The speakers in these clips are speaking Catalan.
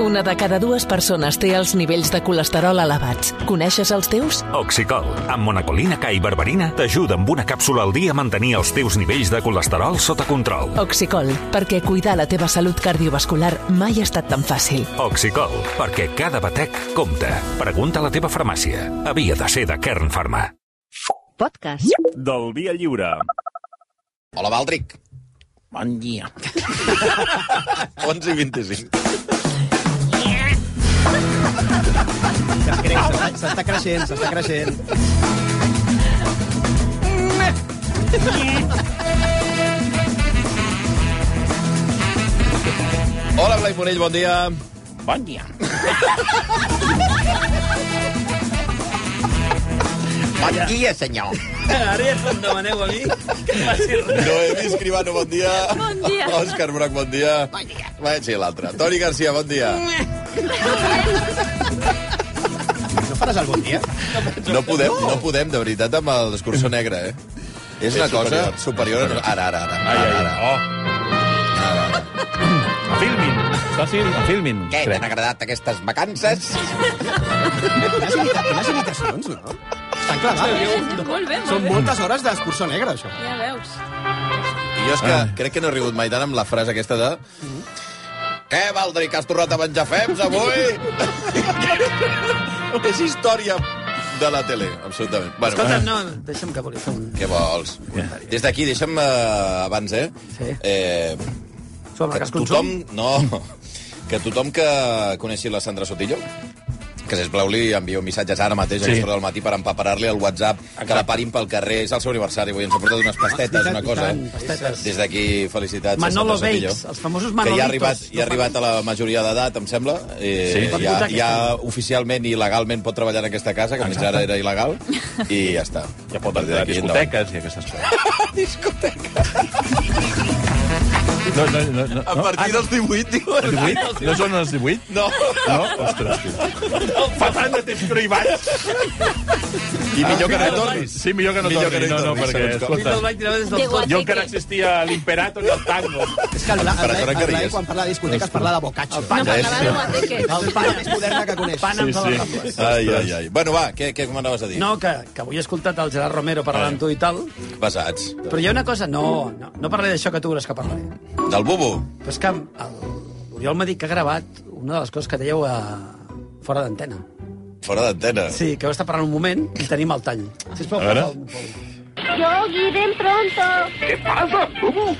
Una de cada dues persones té els nivells de colesterol elevats. Coneixes els teus? Oxicol, amb monacolina K i berberina, t'ajuda amb una càpsula al dia a mantenir els teus nivells de colesterol sota control. Oxicol, perquè cuidar la teva salut cardiovascular mai ha estat tan fàcil. Oxicol, perquè cada batec compta. Pregunta a la teva farmàcia. Havia de ser de Kern Pharma. Podcast. Del Via Lliure. Hola, Baldric. Bon dia. 11 i 25. S'està creixent, s'està creixent. Hola, Blai Monell, bon dia. Bon dia. Bon dia, senyor. Ara ja em demaneu a mi que faci res. Noemi Escribano, bon dia. Bon dia. Òscar Broc, bon dia. Bon dia. Vaig ser l'altre. Toni Garcia, bon dia. No faràs el bon dia? No podem, no podem, de veritat, amb el discurso negre, eh? És una cosa superior. a... Ara, ara, ara. Ai, ara, ai, ara. oh. A filmin. Està fil, a filmin. Què, t'han agradat aquestes vacances? Quines, imita quines imitacions, no? Estan clavades. Molt bé, molt Són moltes hores d'excursió negra, això. bé. Ja veus. I jo és que crec que no he rigut mai tant amb la frase aquesta de... Què, Valdric, has tornat a menjar fems avui? és història de la tele, absolutament. Bueno, eh, Escolta, no, deixa'm que volia fer un... Què vols? Des d'aquí, deixa'm eh, abans, eh? Sí. eh Sobre que tothom... No, que tothom que coneixi la Sandra Sotillo, que sisplau li envieu missatges ara mateix a Sí. aquesta hora del matí per empaparar-li el WhatsApp, que la parin pel carrer, és el seu aniversari, avui ens ha portat Ah, unes pastetes, una cosa, i tant, eh? pastetes. Des d'aquí, felicitats Manolo a Sandra Sotillo. Bakes, els famosos Que ja Manolitos. ha arribat, ja ha arribat a la majoria d'edat, em sembla. Eh, Sí. ja, Pot votar ja oficialment i legalment pot treballar en aquesta casa, que fins ara era il·legal, i ja està. Ja pot A partir entrar a d'aquí, endavant. discoteques i aquestes coses. discoteques. No, no, no, no. A partir dels 18, diuen. 18? No són els 18? No. No? Ostres, tio. Fa tant de temps prohibat. I millor que no hi tornis. Sí, millor que no Millor millor que torni. no No, no, torni, segons com. perquè, I te'l escolta, vaig tirar des del Diego tot. jo encara existia l'imperator i el tango. És que el Blai, el Però ara Blai, que el Blai rigues. quan parla de discoteques parla de bocacho. No Ja parlava és- de Guateque. El pana més moderna que coneix. Pan amb sí, sí. Ai, ai, ai. Bueno, va, què, què m'anaves a dir? No, que, que avui he escoltat el Gerard Romero parlant amb tu i tal, Pesats. però hi ha una cosa... No, no, no parlaré d'això que tu creus que parlaré. Del bubo. Però és que el- l'Oriol m'ha dit que ha gravat una de les coses que dèieu a... fora d'antena. Fora d'antena. Sí, que heu estat parlant un moment i tenim el tall. Sisplau, A veure. posa el- posa Yogi, ven pronto. ¿Qué pasa, Bubu?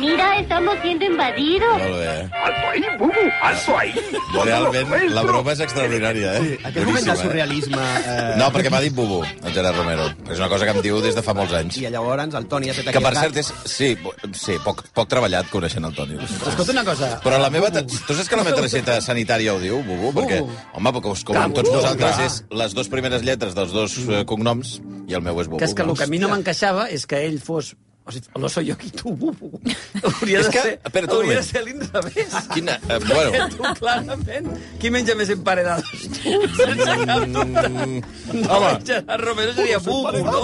Mira, estamos siendo invadidos. Molt bé. eh? ¡Alto ahí, Bubu! ¡Alto ahí! ¡No te lo Realment, la cuento! broma és extraordinària, eh? Aquest moment de Boníssima, surrealisme... Eh, Eh? No, perquè m'ha dit bubo, el Gerard Romero. És una cosa que em diu des de fa molts anys. I llavors el Toni ha fet Que, per cert, és... Sí, bo- sí poc, poc treballat coneixent el Toni. Escolta una cosa. Però la meva... ta- Tu saps que la meva targeta sanitària ho diu, Bubu? Perquè, home, com, com amb tots Bubu, vosaltres, clar. és les dues primeres lletres dels dos eh, cognoms i el meu és Bubu. Que és que el que a mi no Hòstia. m'encaixava és que ell fos... O sigui, no soy yo y tu, bubu. Hauria És de que- ser, espera, tu un hauria de moment. ser l'inrevés. Quina... Eh, Perquè bueno, tu, clarament, qui menja més Mm. emparedades? Tu, sense cap dubte. No, Home. Gerard Romero seria bubu, no?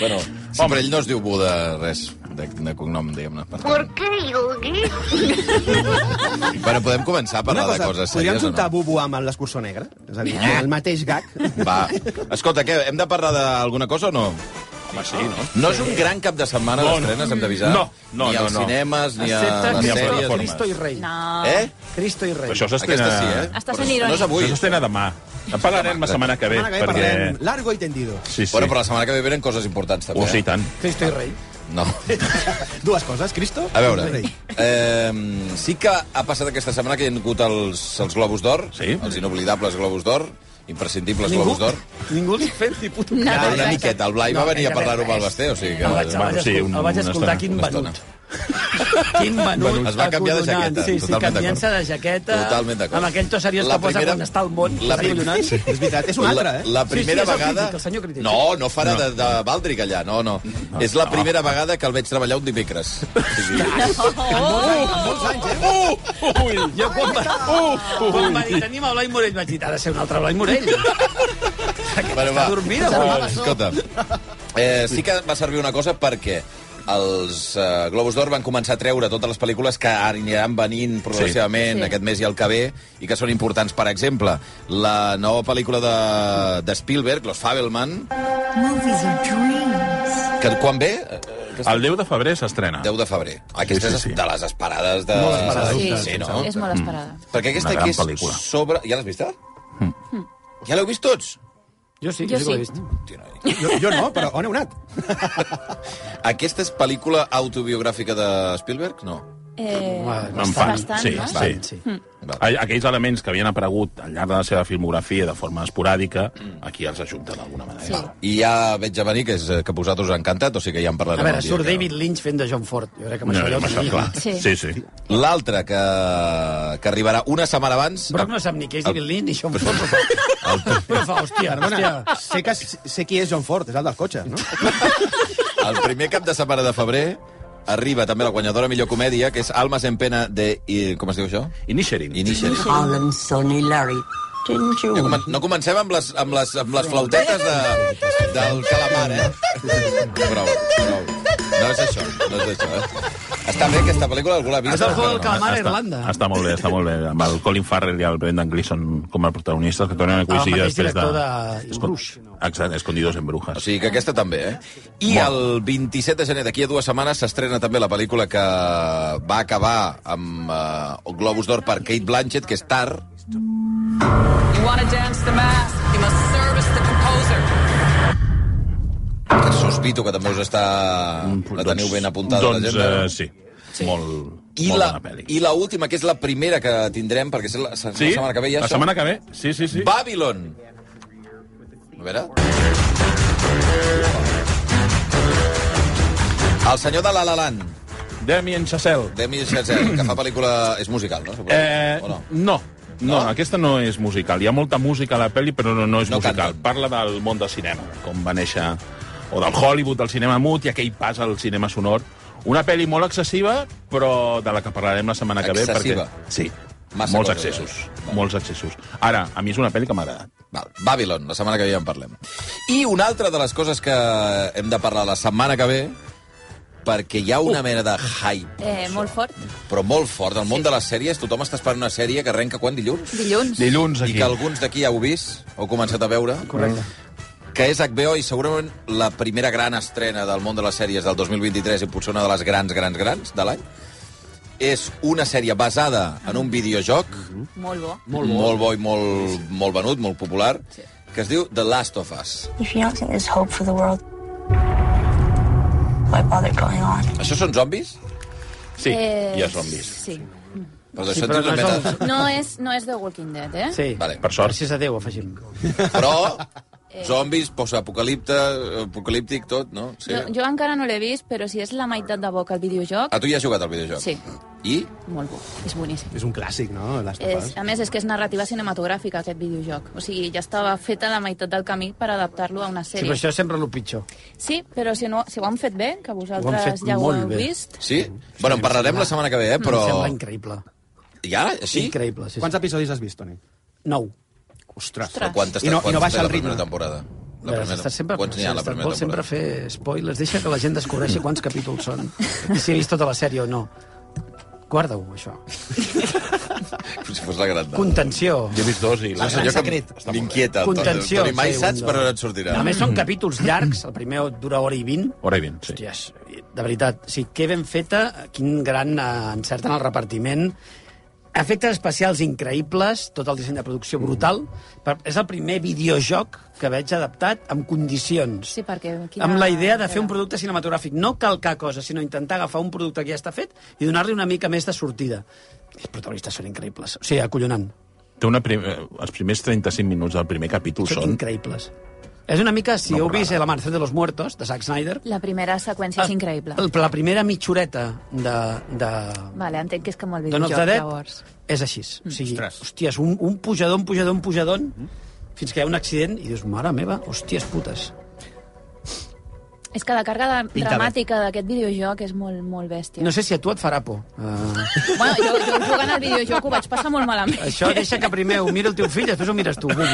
Bueno, sí, però ell no es diu Bu de res, de, de cognom, diguem-ne. Per tant. ¿Por qué, Yogi? Bueno, podem començar a Una parlar cosa, de coses podríem sèries o juntar no? Eh? Bubu amb l'excursió negra? És a dir, el mateix gag. Va, escolta, què, hem de parlar d'alguna cosa o no? Home, sí, no? No és un gran cap de setmana No, no. d'estrenes, hem d'avisar. No, no, ni no, als no. cinemes, ni a Excepte les ni a sèries. plataformes. Cristo i rei. No. Eh? Cristo i rei. Això s'estrena... Aquesta sí, eh? Estàs Però sent No és irònic. avui. Això s'estrena demà. En parlarem la setmana que ve, Setmana que ve perquè... parlem largo i tendido. Sí, sí. Bueno, però la setmana que ve venen coses importants, també. Oh, sí, i tant. Cristo i rei. eh? No. Dues coses, Cristo. A veure, Rei. eh, sí que ha passat aquesta setmana que hi ha hagut els, els Globus d'Or, Sí. els inoblidables Globus d''Or, imprescindibles Ningú, Globus d'Or. ningú li fet ni puto Nada, Ah, cas. una miqueta. El Blai No, va venir a gairebé parlar-ho amb el res. Basté, o sigui que... El vaig, el Bueno, vaig, sí, escol- un- el vaig una escoltar, estona, quin una venut. Quin Venut. venut. Es va canviar de acollonant. jaqueta, Sí, sí, totalment canviant-se de jaqueta. Totalment d'acord. Amb aquell to seriós La que posa primera- quan està al món. la La prim- primera... Sí. És veritat, és una altra, eh? La, la Sí, sí, primera és el vegada... crític, el senyor crític. No, no farà de, de Baldric allà, no, no. no és la primera vegada que el veig treballar un dimecres. O sigui, Ui! Jo quan va, uh, quan va dir tenim a Blai Morell vaig dir ha de ser un altre Blai Morell. Bueno, Està dormida, avui. Escolta, eh, sí que va servir una cosa perquè els eh, Globus d'Or van començar a treure totes les pel·lícules que aniran venint progressivament Sí. sí. aquest mes i el que ve i que són importants. Per exemple, la nova pel·lícula de, de Spielberg, Los Fabelman, que quan ve... Eh, El 10 de febrer s'estrena. 10 de febrer. Aquesta sí, és sí. Mm. de les esperades de... Molt esperada, Sí, sí, no? Mm. és molt esperada. Mm. Perquè aquesta Una gran aquí és pel·lícula. sobre... Ja l'has vista? Mm. Ja l'heu vist tots? Jo sí, Jo sí. Tio, no, eh. Jo, jo no, però on heu anat? Aquesta és pel·lícula autobiogràfica de Spielberg? No. Eh, En fan. bastant, sí, no? Mm. sí. Sí. Val. A- Aquells elements que havien aparegut al llarg de la seva filmografia de forma esporàdica, aquí els ajunta d'alguna Mm. Sí. manera. I ja veig a venir que, és, eh, que vosaltres us ha encantat, o sigui que ja en A parlarem veure, un dia surt que- David Lynch fent de John Ford. Jo crec que amb No, això ja ho amb això, tenia. clar. Sí. Sí, sí. L'altre que, que arribarà una setmana abans... Brock no sap ni què és David Lynch ni John Ford, però fa, però fa hòstia, hòstia. Perdona, sé, que, sé qui és John Ford, és el dels cotxes, no? El primer cap de setmana de febrer arriba també la guanyadora millor comèdia, que és Almas en pena de... I, com es diu això? Initiating. Initially. Alan, Oh, Sonny, Larry. No, comen- no comencem amb les, amb les, amb les flautetes de, del calamar, eh? Prou, prou. No és això, no és això, eh? Està bé aquesta pel·lícula, algú l'ha vist? És el juego del calamar a Està, Irlanda. Ah, està molt bé, està molt bé. Amb el Colin Farrell i el Brendan Gleeson com a protagonistes que tornen a coincidir Ah, mateix després de... director de Escon- Exacte, Escondidos en Brujas. O sigui que aquesta també, eh? I el 27 de gener, d'aquí a dues setmanes, s'estrena també la pel·lícula que va acabar amb eh, Globus d'Or per Kate Blanchett, que és Tar. Que sospito que també us està... La teniu ben apuntada a Mm, doncs, l'agenda. eh, sí. sí. Molt, I molt la, bona pel·li. I la última, que és la primera que tindrem, perquè és la, la sí? setmana que ve ja La això. setmana que ve? Sí, sí, sí. Babylon. A veure... El senyor de La La Land, Damien Chazelle. Demi Chazelle, que fa pel·lícula... És musical, no? Suposo, Eh, o no? no. No, No? aquesta no és musical. Hi ha molta música a la pel·li, però no, no és No musical. canta. Parla del món del cinema, com va néixer... O del Hollywood, del cinema mut, i aquell pas al cinema sonor. Una pel·li molt excessiva, però de la que parlarem la setmana que Excessiva. ve. Perquè... Sí. Massa molts cosa, excessos. eh? Val. Molts excessos. Ara, a mi és una pel·li que m'ha agradat. Val, Babylon, la setmana que ve ja en parlem. I una altra de les coses que hem de parlar la setmana que ve, perquè hi ha una mena de hype, eh, molt fort. però molt fort. Al món de les sèries, tothom està esperant una sèrie que arrenca quan, dilluns? Dilluns. Dilluns, I que alguns d'aquí ja heu vist, o començat a veure. Correcte. Que és HBO i segurament la primera gran estrena del món de les sèries del 2023 i potser una de les grans, grans, grans de l'any. És una sèrie basada en un videojoc Molt bo. Mm-hmm. molt bo, molt bo i molt, molt venut, molt popular, que es diu The Last of Us. If you don't think there's hope for the world, why bother going on? Això són zombis? Sí, Eh, ja som vist. Sí. Però Doncs això però et diu no la són- meta... No és, no és The Walking Dead, eh? Sí. Vale. Per sort. Gràcies a Déu, afegim. Però Eh. zombis, post-apocalipte, apocalíptic, tot, no? Sí. No, jo encara no l'he vist, però si és la meitat de bo que el videojoc, A Ah, tu ja has jugat al videojoc? Sí. I? molt bo, és boníssim. És un clàssic, no? Last of És, Us. a més, és que és narrativa cinematogràfica, aquest videojoc. O sigui, ja estava feta la meitat del camí per adaptar-lo a una Sí, però sèrie. això és sempre el pitjor. Sí, però si, no, si ho han fet bé, que Ho han fet vosaltres ja ho molt heu bé. vist... Sí? Bueno, en parlarem la setmana que ve, eh? Però... Però... Em sembla increïble. Ja? Sí? Increïble, sí. Quants episodis has vist, Toni? Nou. Ostres. Ostres. Quantes, I no- i no baixa té la el ritme. primera temporada? La Veus, primera... estàs sempre, Quants n'hi ha a la estàs- primera vols sempre temporada? fer spoilers, deixa que la gent descobreixi quants capítols són i si he vist tota la sèrie o no. Guarda-ho, això. Com si fos la gran dada. Contenció. Jo he vist dos i la... És allò que m'inquieta. Contenció. Toni, mai sí, un saps dels- per on et sortirà. Mm. A més, són capítols llargs, el primer dura hora i vint. Hora i vint, sí. Hòsties, de veritat, o sigui, que ben feta, quin gran eh, encert en el repartiment, efectes especials increïbles, tot el disseny de producció Mm. brutal. Per- És el primer videojoc que veig adaptat amb condicions. Sí, perquè... quina- Amb la idea de fer un producte cinematogràfic. No calcar coses, sinó intentar agafar un producte que ja està fet i donar-li una mica més de sortida. Els protagonistes són increïbles. O sigui, acollonant. Té una prim... eh, Els primers 35 minuts del primer capítol Són són... increïbles. És una mica, si No, heu però vist eh, ara. La Mercè de los Muertos, de Zack Snyder, La primera seqüència és increïble. Ah, el- la primera mitjoreta de, de, Vale, entenc que és com el Dawn of videojoc, the Dead llavors. és així. O sigui, hòsties, un, un pujador, un pujador, un pujador, fins que hi ha un accident i dius, mare meva, hòsties putes. És que la carga de, Pinta bé. dramàtica d'aquest videojoc és molt, molt bèstia. No sé si a tu et farà por. Uh, Bueno, jo, jo jugant al videojoc ho vaig passar molt malament. això deixa que primer ho mira el teu fill, després ho mires tu, Bubu.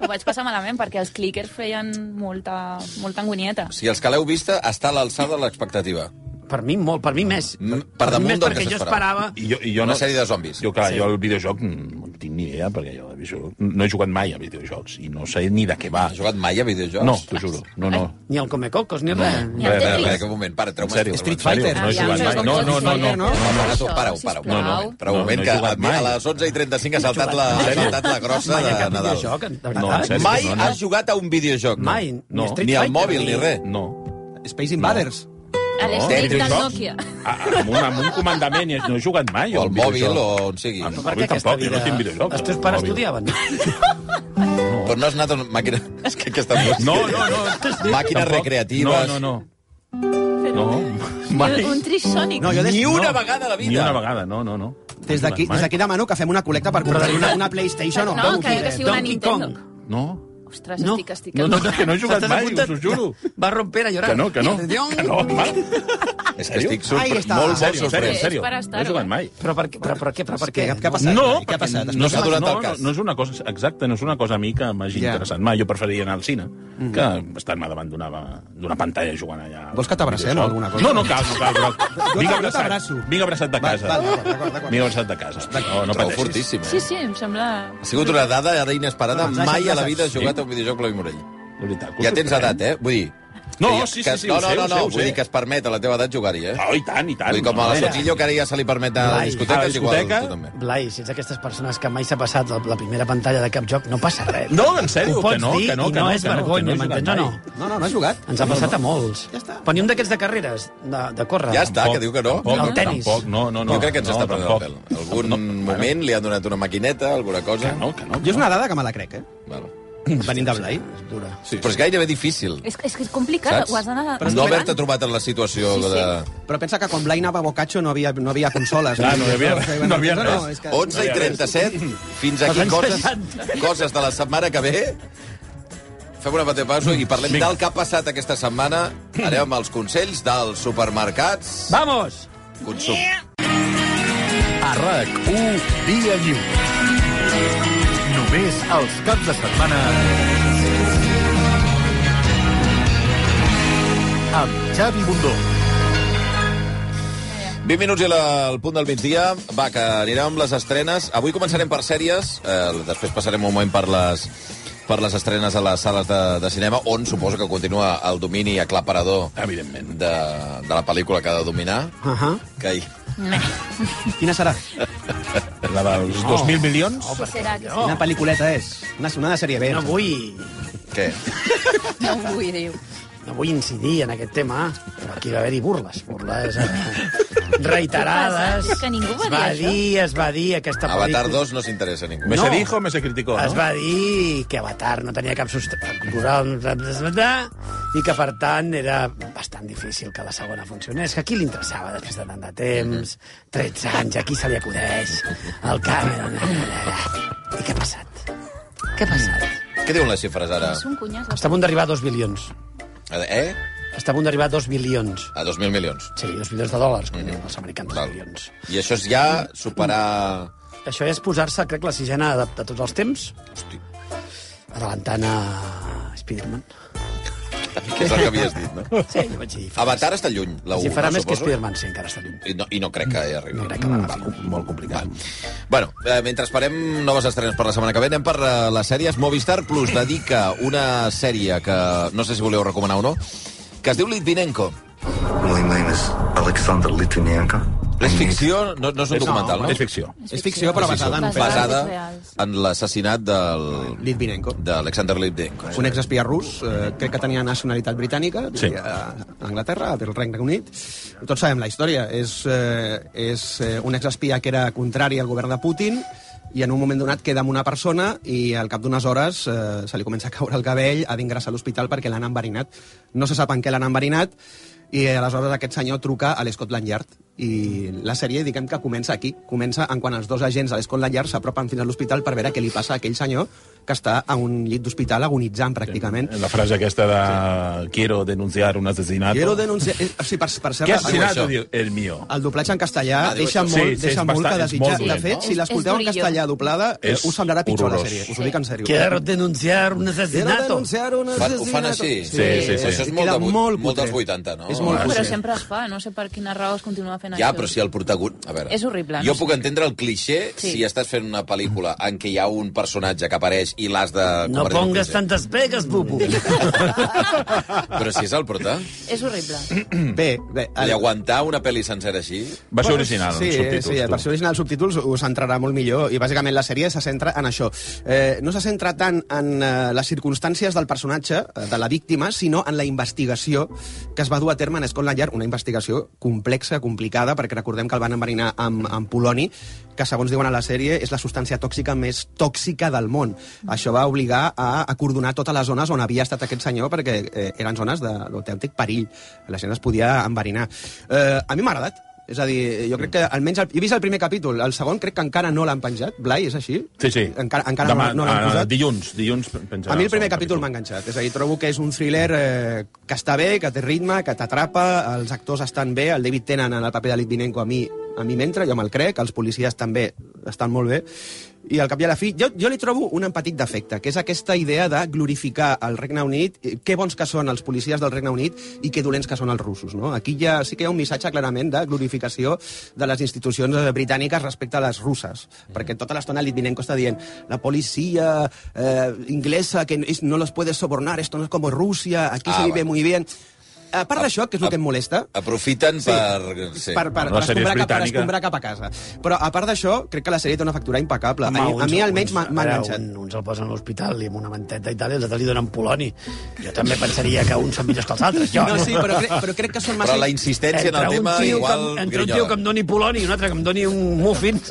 Ho vaig passar malament perquè els clickers feien molta, molta angonieta. Si els que l'heu vista, està a l'alçada de l'expectativa. Per mi molt, per mi més. Per, Per per mi més damunt del perquè que jo s'esperava. esperava... I jo, i jo Una no- sèrie de zombis. Jo, clar, Sí. sí. jo el videojoc mm, no en tinc ni idea, perquè jo de videojoc- no he jugat mai a videojocs i no sé ni de què va. Has jugat mai a videojocs? No, t'ho juro. No, no. Ni el Comecocos, ni res. Ni Res, res, el Espera, Tetris. espera, que un moment, para, treu En sèrio, Street en sèrio, Fighter. No he Aviam, jugat mai. Ah, Street No, no, no, no. Fighter, no? No, no, no, Això, pareu, pareu. sisplau. No, no. Però un moment, he que jugat a, mi- a mai. les 11 i 35 ha saltat la, ha saltat la grossa Mai de a cap Nadal. videojoc, de No, en veritat. sèrio. Mai No, no. has jugat a un videojoc. no? Mai. No, Street Ni al Fighter, mòbil, ni res. No. Space Invaders. A No, l'estic del videojocs? Nokia. Ah, Amb un, amb un comandament i no he jugat mai. O al al mòbil, videojoc. o on sigui. Ah, no. Però per què Avui aquesta tampoc, jo vida? no tinc videojocs. Els teus pares Mòbil. estudiaven. Però no has anat a una màquina... És que aquesta música... No, no, no. Màquines Tampoc. recreatives. No, no, no. No, mai. Un Trissonic. No, jo des, Ni una vegada a la vida. Ni una vegada, no, no, no. des d'aquí des d'aquí demano que fem una col·lecta per comprar una, una PlayStation o No, Donkey que- que sigui una Donkey Nintendo. Kong. No. Ostres, No. estic, estic... No, no, no, que no he jugat S'estàs mai, apuntant- us ho juro. Va romper a llorar. Que no, que no. Atención. Que no, home. És que estic Ahí sorpre... està. molt, En molt En sèrio, en sorprès. sèrio. És per estar-ho, No he eh? jugat mai. Però per, què- però per què? Però per què? Què- què ha passat? No, Què ha passat? No s'ha donat el no, cas. No, no és una cosa, exacte, no és una cosa a mi que m'hagi Ja. yeah. interessat mai. Jo preferiria anar al cine, mm. que estar-me davant d'una d'una pantalla jugant allà. Vols que t'abracem Videojoc. o alguna cosa? No, no cal, no cal. Però... Jo Vinc t'abraço. abraçat, vinc abraçat de Va, casa. va, d'acord, d'acord, d'acord. Vinc abraçat de casa. No, No no Trobo pateixis. fortíssim, eh? Sí, sí, em sembla... Ha sigut una dada ara inesperada. No, ens ha Mai a la deixat vida has sí. jugat a un videojoc Clavi Morell. De veritat, que Ja us tens sorprèn. edat, eh? Vull dir... No, que ja- sí, sí, que- sí, no, ho no, sé, no, ho no, sé, ho vull sé. dir que es permet a la teva edat jugar-hi, eh? Oh, i tant, i tant. Vull dir, com a la Home, Sotillo, que ara ja se li permet anar a la Ai, discoteca, a la és igual, discoteca. tu també. Blai, si ets aquestes persones que mai s'ha passat la, la primera pantalla de cap joc, no passa res. No, en sèrio, Ho que pots no, dir que no, i que no, no, és que no, vergonya, que no he jugat m'entens o no? mai. No, no, no has jugat. Ens ha passat a molts. Ja està. Però ni un d'aquests de carreres, de, de córrer. Ja està, que diu que no. Tampoc, El tenis. Tampoc, no, no, no. Jo crec que ens no, està prenent el pèl. tampoc. Algun No, moment li han donat una maquineta, alguna cosa. Que no, que no. Jo és una dada que me la crec, eh? Vale. Venim de Blai. És dura. Sí. Però és gairebé difícil, És, és que és complicat, saps? ho has d'anar... No jugant. haver-te trobat en la situació Sí, sí. de... Però pensa que quan Blai anava a Boccaccio no havia, no havia consoles. Doncs, eh, Clar, no hi havia- no havia res. és que... 11 i 37, fins aquí Els anys coses, 60. coses de la setmana que ve. Fem una petita pausa i parlem del que ha passat aquesta setmana. Anem als consells dels supermercats. Vamos! Consum. A RAC1, Dia Lliure. Només els caps de setmana... amb Xavi Bundó. 20 minuts i la, el punt del migdia. Va, que anirem amb les estrenes. Avui començarem per sèries, eh, després passarem un moment per les, per les estrenes a les sales de, de cinema, on suposo que continua el domini aclaparador Evidentment. de, de la pel·lícula que ha de dominar. Uh -huh. Que ahir... Quina serà? La dels 2.000 milions? Què serà, què serà? Quina pel·liculeta és? Una, una de sèrie B. No vull, Què? No ho vull, diu. no vull incidir en aquest tema, però aquí va haver-hi burles. Burles eh, reiterades. Que ningú va es va dir això. dir, es va dir aquesta Avatar pel·lícula- 2 no s'interessa a ningú. Me No. se dijo, me se Ah, criticó, Es no? va dir que Avatar no tenia cap substància cultural i que, per tant, era bastant difícil que la segona funcionés. Que a qui li interessava després de tant de temps? Mhm. 13 anys, a qui se li acudeix? El Cameron... I què ha passat? Què ha passat? Què diuen les xifres ara? És un cunyàs. Està a punt d'arribar a 2 bilions. Eh? Està a punt d'arribar a 2 bilions. A 2.000 milions. Sí, 2 bilions de dòlars, com diuen els americans, Mhm. Val. dos bilions. I això és ja superar... Això és posar-se, crec, la sisena de, de tots els temps, Hosti, adelantant a Spider-Man. que és el que havies dit, no? Sí, jo vaig dir. Avatar està lluny, la 1, Si farà no, més que suposo? Spider-Man, sí, encara està lluny. I no, I no crec que hi arribi. Mm, No crec que va agafar. molt complicat. Va. Bueno, eh, mentre esperem noves estrenes per la setmana que ve, anem per eh, les sèries. Movistar Plus dedica una sèrie que no sé si voleu recomanar o no, que es diu Litvinenko. My name is Alexander Litvinenko. És ficció, no, no és un documental, no? És ficció. És ficció, però basada en... un fet- Basada en fets reals. en l'assassinat del... Litvinenko. d'Alexander Litvinenko. un exespia rus, eh, crec que tenia nacionalitat britànica, Sí. sí. a Anglaterra, al Regne Unit. Tots sabem la història. És, eh, és eh, un exespia que era contrari al govern de Putin i en un moment donat queda amb una persona i al cap d'unes hores eh, se li comença a caure el cabell, ha d'ingressar a l'hospital perquè l'han enverinat. No se sap en què l'han enverinat i eh, aleshores aquest senyor truca a l'Scotland Yard i la sèrie, diguem que comença aquí. Comença en quan els dos agents de l'Escotland Yard s'apropen fins a l'hospital per veure què li passa a aquell senyor que està a un llit d'hospital agonitzant, pràcticament. La frase aquesta de... Sí. Quiero denunciar un asesinato. Quiero denunciar... eh, O sigui, per, per ser... Què asesinato? Diu, el mío. El doblatge en castellà Ah, ah, diu deixa això. molt, Sí, sí, sí, deixa és bastant- molt que és molt eh? desitjar. De dolent, fet, no? si l'escolteu És- en és castellà doblada, eh, És us semblarà pitjor horrorós. la sèrie. Us ho dic en sèrio. Quiero denunciar un Quiero asesinato. denunciar un Ho fan- ho fan així? asesinato. Sí, sí, sí. Això és I molt, queda de, molt molt, molt dels cutre. 80, no? És molt Ah, cutre. Però sí. sempre es fa, no sé per quina raó es continua fent Ja, això. però si el protagonista... A veure, És horrible, Jo no? puc entendre el cliché sí. Sí. si estàs fent una pel·lícula en què hi ha un personatge que apareix i l'has de... No convertir en pongas cliché. tantas pegas, pupu. Però si és el prota. És horrible. Mm. Bé, bé, I aguantar una pel·li sencera així... Va ser original, sí, els subtítols. Sí, tu. versió original, subtítols, us entrarà molt millor. I, bàsicament, la sèrie se centra en això. Eh, no se centra tant en eh, les circumstàncies del personatge, eh, de la víctima, sinó en la investigació que es va dur a terme en Scotland Yard, una investigació complexa, complicada, perquè recordem que el van enverinar amb, amb poloni, que, segons diuen a la sèrie, és la substància tòxica més tòxica del món. Això va obligar a acordonar totes les zones on havia estat aquest senyor, perquè eh, eren zones de l'autèntic perill. La gent es podia enverinar. Eh, a mi m'ha agradat. És a dir, jo crec que almenys... El, jo he vist el primer capítol, el segon crec que encara no l'han penjat. Blai, és així? Sí, sí. Encara, encara Demà, no, no l'han ah, posat. Dilluns, dilluns penjarà a mi el segon primer capítol m'ha enganxat. És a dir, trobo que és un thriller eh, que està bé, que té ritme, que t'atrapa, els actors estan bé, el David Tennant en el paper de Litvinenko a mi a mi m'entra, jo me'l crec, els policies també estan molt bé, i al cap i a la fi, jo, jo li trobo un petit defecte, que és aquesta idea de glorificar el Regne Unit, eh, que bons que són els policies del Regne Unit i que dolents que són els russos. No? Aquí ja, sí que hi ha un missatge clarament de glorificació de les institucions eh, britàniques respecte a les russes, perquè tota l'estona Litvinenko està dient la policia eh, inglesa que es- no los puede sobornar, esto no es como Rusia, aquí Ah, se vive bueno. muy bien. A part d'això, que és el que em molesta, Aprofiten sí. per... Sí. per, per, Bueno, per, la sèrie és escombrar cap, per britànica. escombrar cap a casa. Però, a part d'això, crec que la sèrie té una factura impecable. a, Home, mi, a uns- mi almenys uns- m'ha m'ha a veure, enganxat. Un, uns el posen a l'hospital i amb una manteta i tal, i els altres li donen poloni. Jo també pensaria que uns són millors que els altres, jo. No, sí, però, crec, però crec que són massa... Però la insistència en Entre el un, tema tio igual que, em- entre un tio que grinyola. em doni poloni i un altre que em doni un muffin.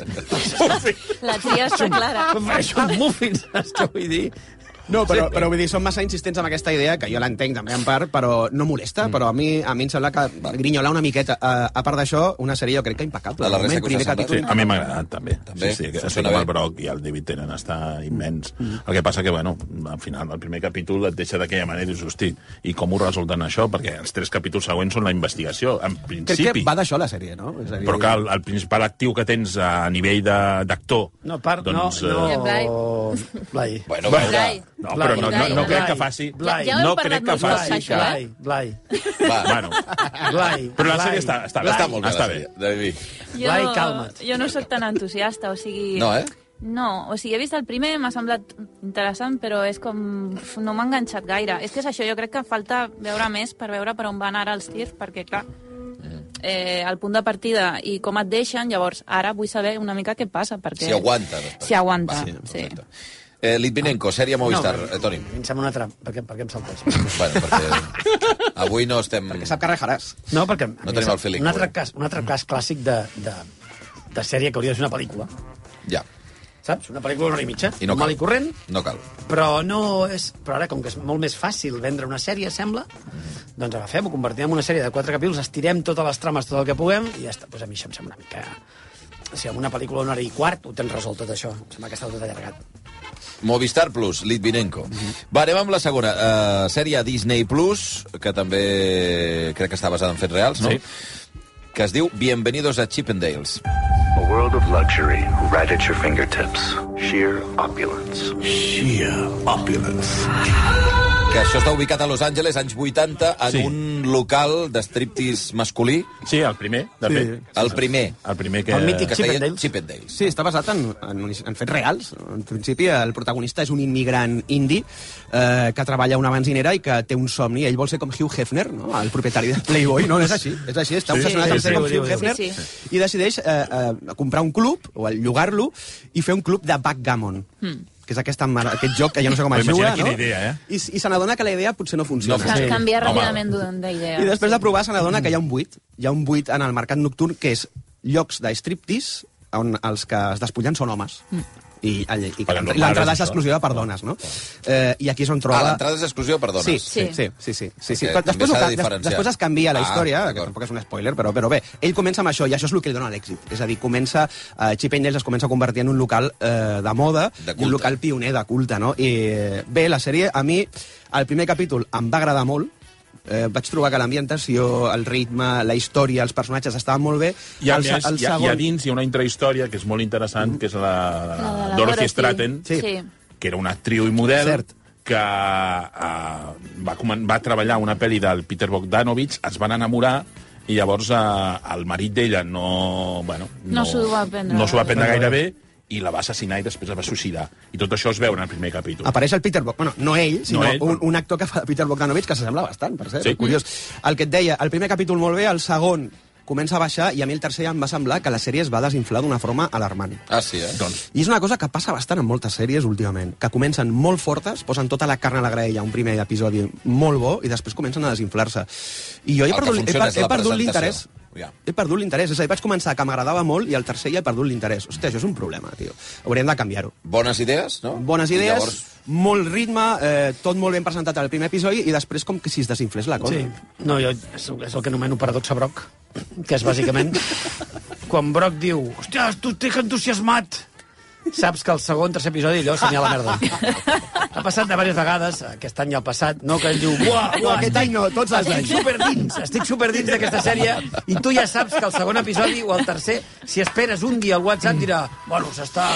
La tia està clara. Prefereixo un muffin, saps què vull dir? No, però, però vull dir, són massa insistents amb aquesta idea, que jo l'entenc també en part, però no molesta, però a mi, a mi em sembla que grinyolar una miqueta. Eh, A, a part d'això, una sèrie jo crec que impecable. A la De resta moment, que us ha primer semblat, Sí, capítol. a mi m'ha agradat, també. També? Sí, sí, que, sí, Funciona com bé? el Brock i el David Tennant està immens. Mm. El que passa que, bueno, al final del primer capítol et deixa d'aquella manera i dius, hosti, i com ho resolten això? Perquè els tres capítols següents són la investigació, en Crec que principi. va d'això la sèrie, no? És a dir, Però que el, el principal actiu que tens a nivell de- d'actor... No, par, doncs, eh, no, eh, Blai. no... Blai. Bueno, Bueno, va, Blai. no, però no, no, no Blai. crec que faci... Blai. Ja- ja no heu parlat crec que molts cops, faci... això, Que... eh? Blai, Blai, va. Bueno, Blai. però la Blai. sèrie està, està, va. bé. Està molt bé, està la bé. sèrie. David. Jo, Blai, calma't. Jo no sóc tan entusiasta, o sigui... No, eh? No, o sigui, he vist el primer, m'ha semblat interessant, però és com... uf, no m'ha enganxat gaire. És que és això, jo crec que falta veure més per veure per on van ara els tirs, perquè, clar, Mm. eh, el punt de partida i com et deixen, llavors, ara vull saber una mica què passa, perquè... Si aguanta. Si aguanta, Va, sí. perfecte. Eh, Litvinenko, sèrie Movistar. Ah, No, No, eh, Toni. A mi em sembla una trampa. Per què, per què em saltes? Bueno, perquè avui no estem... Que sap que rajaràs. No, perquè... a mi em tenim sembla- el feeling, Un altre, correcte. cas, un altre cas clàssic de, de, de sèrie que hauria de ser una pel·lícula. Ja, Saps? Una pel·lícula d'una hora i mitja, I no cal. normal i corrent, no cal. però no és... Però ara, com que és molt més fàcil vendre una sèrie, sembla, doncs agafem, ho convertim en una sèrie de quatre capítols, estirem totes les trames, tot el que puguem, i ja està. Doncs a mi això em sembla una mica... O sigui, amb una pel·lícula d'una hora i quart ho tens resolt tot això. Em sembla que està tot allargat. Movistar Plus, Litvinenko. Va, anem amb la segona. Uh, sèrie Disney Plus, que també crec que està basada en fets reals, no? Sí. Que es diu Bienvenidos a Chippendales. A world of luxury right at your fingertips. Sheer opulence. Que això està ubicat a Los Angeles, anys 80, en Sí. un local d'estriptease masculí. Sí, el primer, de Sí. fet. El primer. El primer que... El mític Que es deia Chippendales. Chippendales. Sí, està basat en, en, unis- en fets reals. En principi, el protagonista és un immigrant indi eh, que treballa a una benzinera i que té un somni. Ell vol ser com Hugh Hefner, no? el propietari de Playboy. No, no és així. És així, està Sí, obsessionat sí, amb ser sí, com sí, Hugh sí, Hefner sí, i decideix eh, eh, comprar un club, o el llogar-lo, i fer un club de backgammon. que és aquesta, mar- aquest joc que ja no sé com es Però juga, imagina no? quina idea, eh? I, s- I se n'adona que la idea potser no funciona. No Cal Sí. canviar Home. ràpidament d'un- d'idea. I després de provar se n'adona que hi ha un buit. Hi ha un buit en el mercat nocturn que és llocs d'estriptease on els que es despullen són homes. Mm. I, i, i Perquè no pares, l'entrada és això. exclusiva per dones, no? Eh, I aquí és on troba... Ah, l'entrada és exclusiva per dones. Sí, sí, sí. sí, sí, sí, sí. Perquè Però també després, ho s'ha de ca- des- diferenciar. després es canvia la Ah, història, que d'acord. tampoc és un spoiler, però, però bé, ell comença amb això i això és el que li dona l'èxit. És a dir, comença, eh, Chip Angels es comença a convertir en un local eh, de moda, De i culte. un local pioner de culte, no? I eh, bé, la sèrie, a mi, el primer capítol em va agradar molt, Eh, vaig trobar que l'ambientació, el ritme, la història, els personatges estaven molt bé. I a, El més, se- el hi, ha, hi ha dins hi ha una intrahistòria que és molt interessant, que és la, La de la Dorothy Dorothy. Stratton, Sí. Sí. que era una actriu i model, Cert. que uh, va, comen- va treballar una pel·li del Peter Bogdanovich, es van enamorar, i llavors uh, el marit d'ella no... Bueno, No s'ho va prendre. No s'ho va prendre gaire bé, i la va assassinar i després la va suïcidar. I tot això es veu en el primer capítol. Mm. Ah. Apareix el Peter Bogdanovich, bueno, no ell, sinó no ell, ell, un, un actor que fa de Peter Bogdanovich que s'assembla bastant, per cert, Sí. sí. curiós. Mm. El que et deia, el primer capítol molt bé, el segon comença a baixar i a mi el tercer ja em va semblar que la sèrie es va desinflar d'una forma alarmant. Ah, sí, eh? Doncs... I és una cosa que passa bastant en moltes sèries últimament, que comencen molt fortes, posen tota la carn a la graella, un primer episodi molt bo, i després comencen a desinflar-se. I jo he El que perdut, he, funciona per- és la he perdut presentació. l'interès Ja. he perdut l'interès, és a dir, vaig començar que m'agradava molt i el tercer ja he perdut l'interès. Hòstia, això és un problema, tio. Hauríem de canviar-ho. Bones idees, no? Bones I idees, Llavors, molt ritme, eh, tot molt ben presentat al primer episodi i després com que si es desinflés la cosa. Sí. No, jo, és, és el que anomeno paradoxa Brock, que és bàsicament quan Brock diu «Hòstia, tu t'he entusiasmat!» Saps que el segon, tercer episodi allò senyala merda. Ha passat de diverses vegades, aquest any i el passat, no, que ell diu «Buah, Ah, No, buah, aquest any no, tots els estic anys." superdins, estic superdins d'aquesta sèrie i tu ja saps que el segon episodi o el tercer, si esperes un dia al WhatsApp, dirà «Bueno, s'està...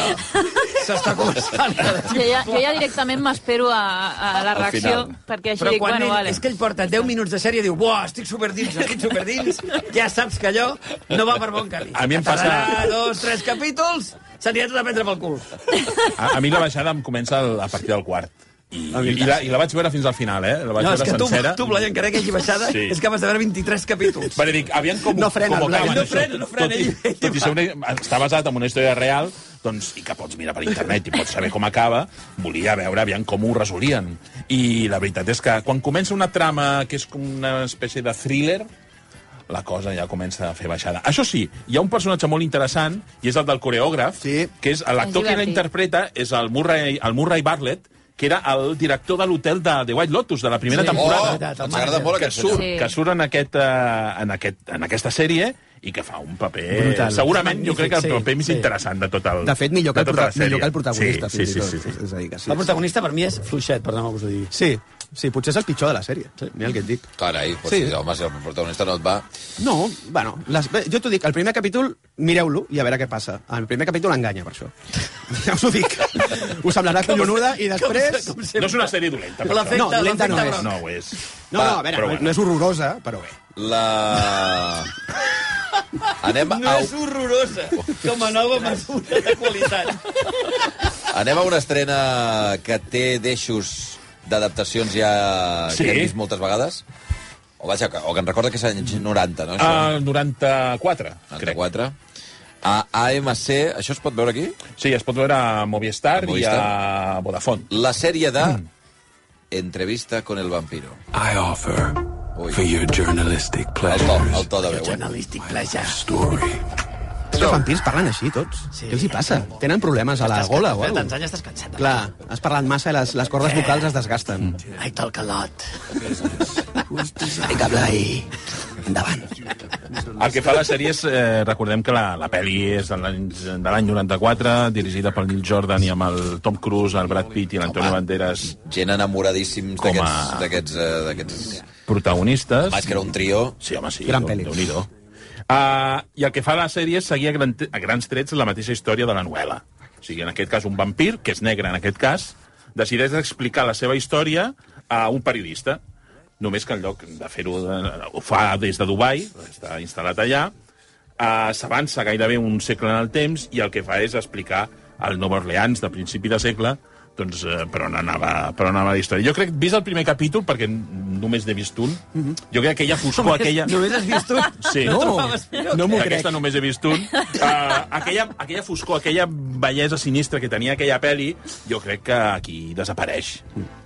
s'està començant a Jo ja, jo ja directament m'espero a, a la Al reacció, final. perquè així Però dic, quan bueno, ell, vale. és que ell porta 10 minuts de sèrie i diu «Buah, estic superdins, estic superdins», ja saps que allò no va per bon camí. A mi em Que tardarà passa- dos, tres capítols, s'anirà tot a prendre pel cul. A, a mi la baixada em comença el- a partir del quart. I, i, i, la, I la vaig veure fins al final, eh? La vaig No, és veure que tu, sencera. tu Blai, encara que hagi baixada, Sí. sí. és capaç de veure 23 capítols. Vale, dic, aviam com, No frena, com Blai. acaben, No això. frena, no frena, Tot i, ell- ell tot i va. ser una, està basat en una història real, doncs, i que pots mirar per internet i pots saber com acaba, volia veure aviam com ho resolien. I la veritat és que quan comença una trama que és com una espècie de thriller, la cosa ja comença a fer baixada. Això sí, hi ha un personatge molt interessant, i és el del coreògraf, sí. que és l'actor És que la divertit. interpreta, és el Murray, el Murray Bartlett, que era el director de l'hotel de The White Lotus, de la primera Sí. Oh, temporada. ens agrada molt que aquest surt, senyor. que surt en, aquest, eh, en, aquest, en aquesta sèrie i que fa un paper... Brutal. Segurament jo crec que el Magnífic, paper sí, més sí. interessant de tot el... De fet, millor que el de tota la prota- millor sèrie. que el protagonista, Sí, fins sí, i sí, tot. sí, sí. És a dir, que sí. El protagonista per mi és fluixet, perdoneu que us ho digui. Sí, sí, potser és el pitjor de la sèrie. Sí. Mira el que et dic. Carai, pues sí. Sí. home, si el protagonista no et va... No, bueno, les, bé, jo t'ho dic, el primer capítol, mireu-lo i a veure què passa. El primer capítol enganya, per això. Ja us ho dic. Us semblarà collonuda i després... No és una sèrie dolenta, per L'efecte- això. No, dolenta no No, l'efecte ho és. No, no, a veure, no, no és horrorosa, però bé. La... Anem a, No és horrorosa, com a nova mesura de qualitat. anem a una estrena que té deixos d'adaptacions ja Sí. que hem vist moltes vegades. O, vaja, que- o que em recorda que és anys 90, no? Això? El 94, crec. 94. A AMC, això es pot veure aquí? Sí, es pot veure a Movistar, A i a Vodafone. La sèrie de... Entrevista con el vampiro. I offer Ui. for your journalistic El to, pleasures el to de veu. eh? Analístic pleasure. story. Els vampirs parlen així, tots. Sí. Què els hi passa? Tenen problemes a la gola o alguna Tants anys estàs cansat. eh? Clar, has parlat massa i les, les cordes vocals es desgasten. Mm. Ai, tal calot. Vinga, Blai, endavant. El que fa la sèrie és, eh, recordem que la, la pel·li és de l'any de l'any 94, dirigida pel Neil Jordan i amb el Tom Cruise, el Brad Pitt i l'Antonio Banderas Gent enamoradíssims Com a- d'aquests... d'aquests, eh, d'aquests- protagonistes. Vaig que era un trio. Sí, home, sí. Gran Déu- pel·li. Déu-n'hi-do. Uh, I el que fa la sèrie és seguir a, gran, a grans trets la mateixa història de la novel·la. O sigui, en aquest cas, un vampir, que és negre en aquest cas, decideix explicar la seva història a un periodista. Només que en lloc de fer-ho... de- Ho fa des de Dubai, està instal·lat allà, eh, s'avança gairebé un segle en el temps i el que fa és explicar el Nova Orleans de principi de segle doncs, eh, per, on anava, per on anava la història. Jo crec, vist el primer capítol, perquè n- només n'he vist un, jo crec que aquella foscor, aquella... Només has vist tu? Sí. No, trobaves millor? no m'ho crec. Aquesta només he vist un. Uh, aquella, aquella foscor, aquella bellesa sinistra que tenia aquella peli, jo crec que aquí desapareix.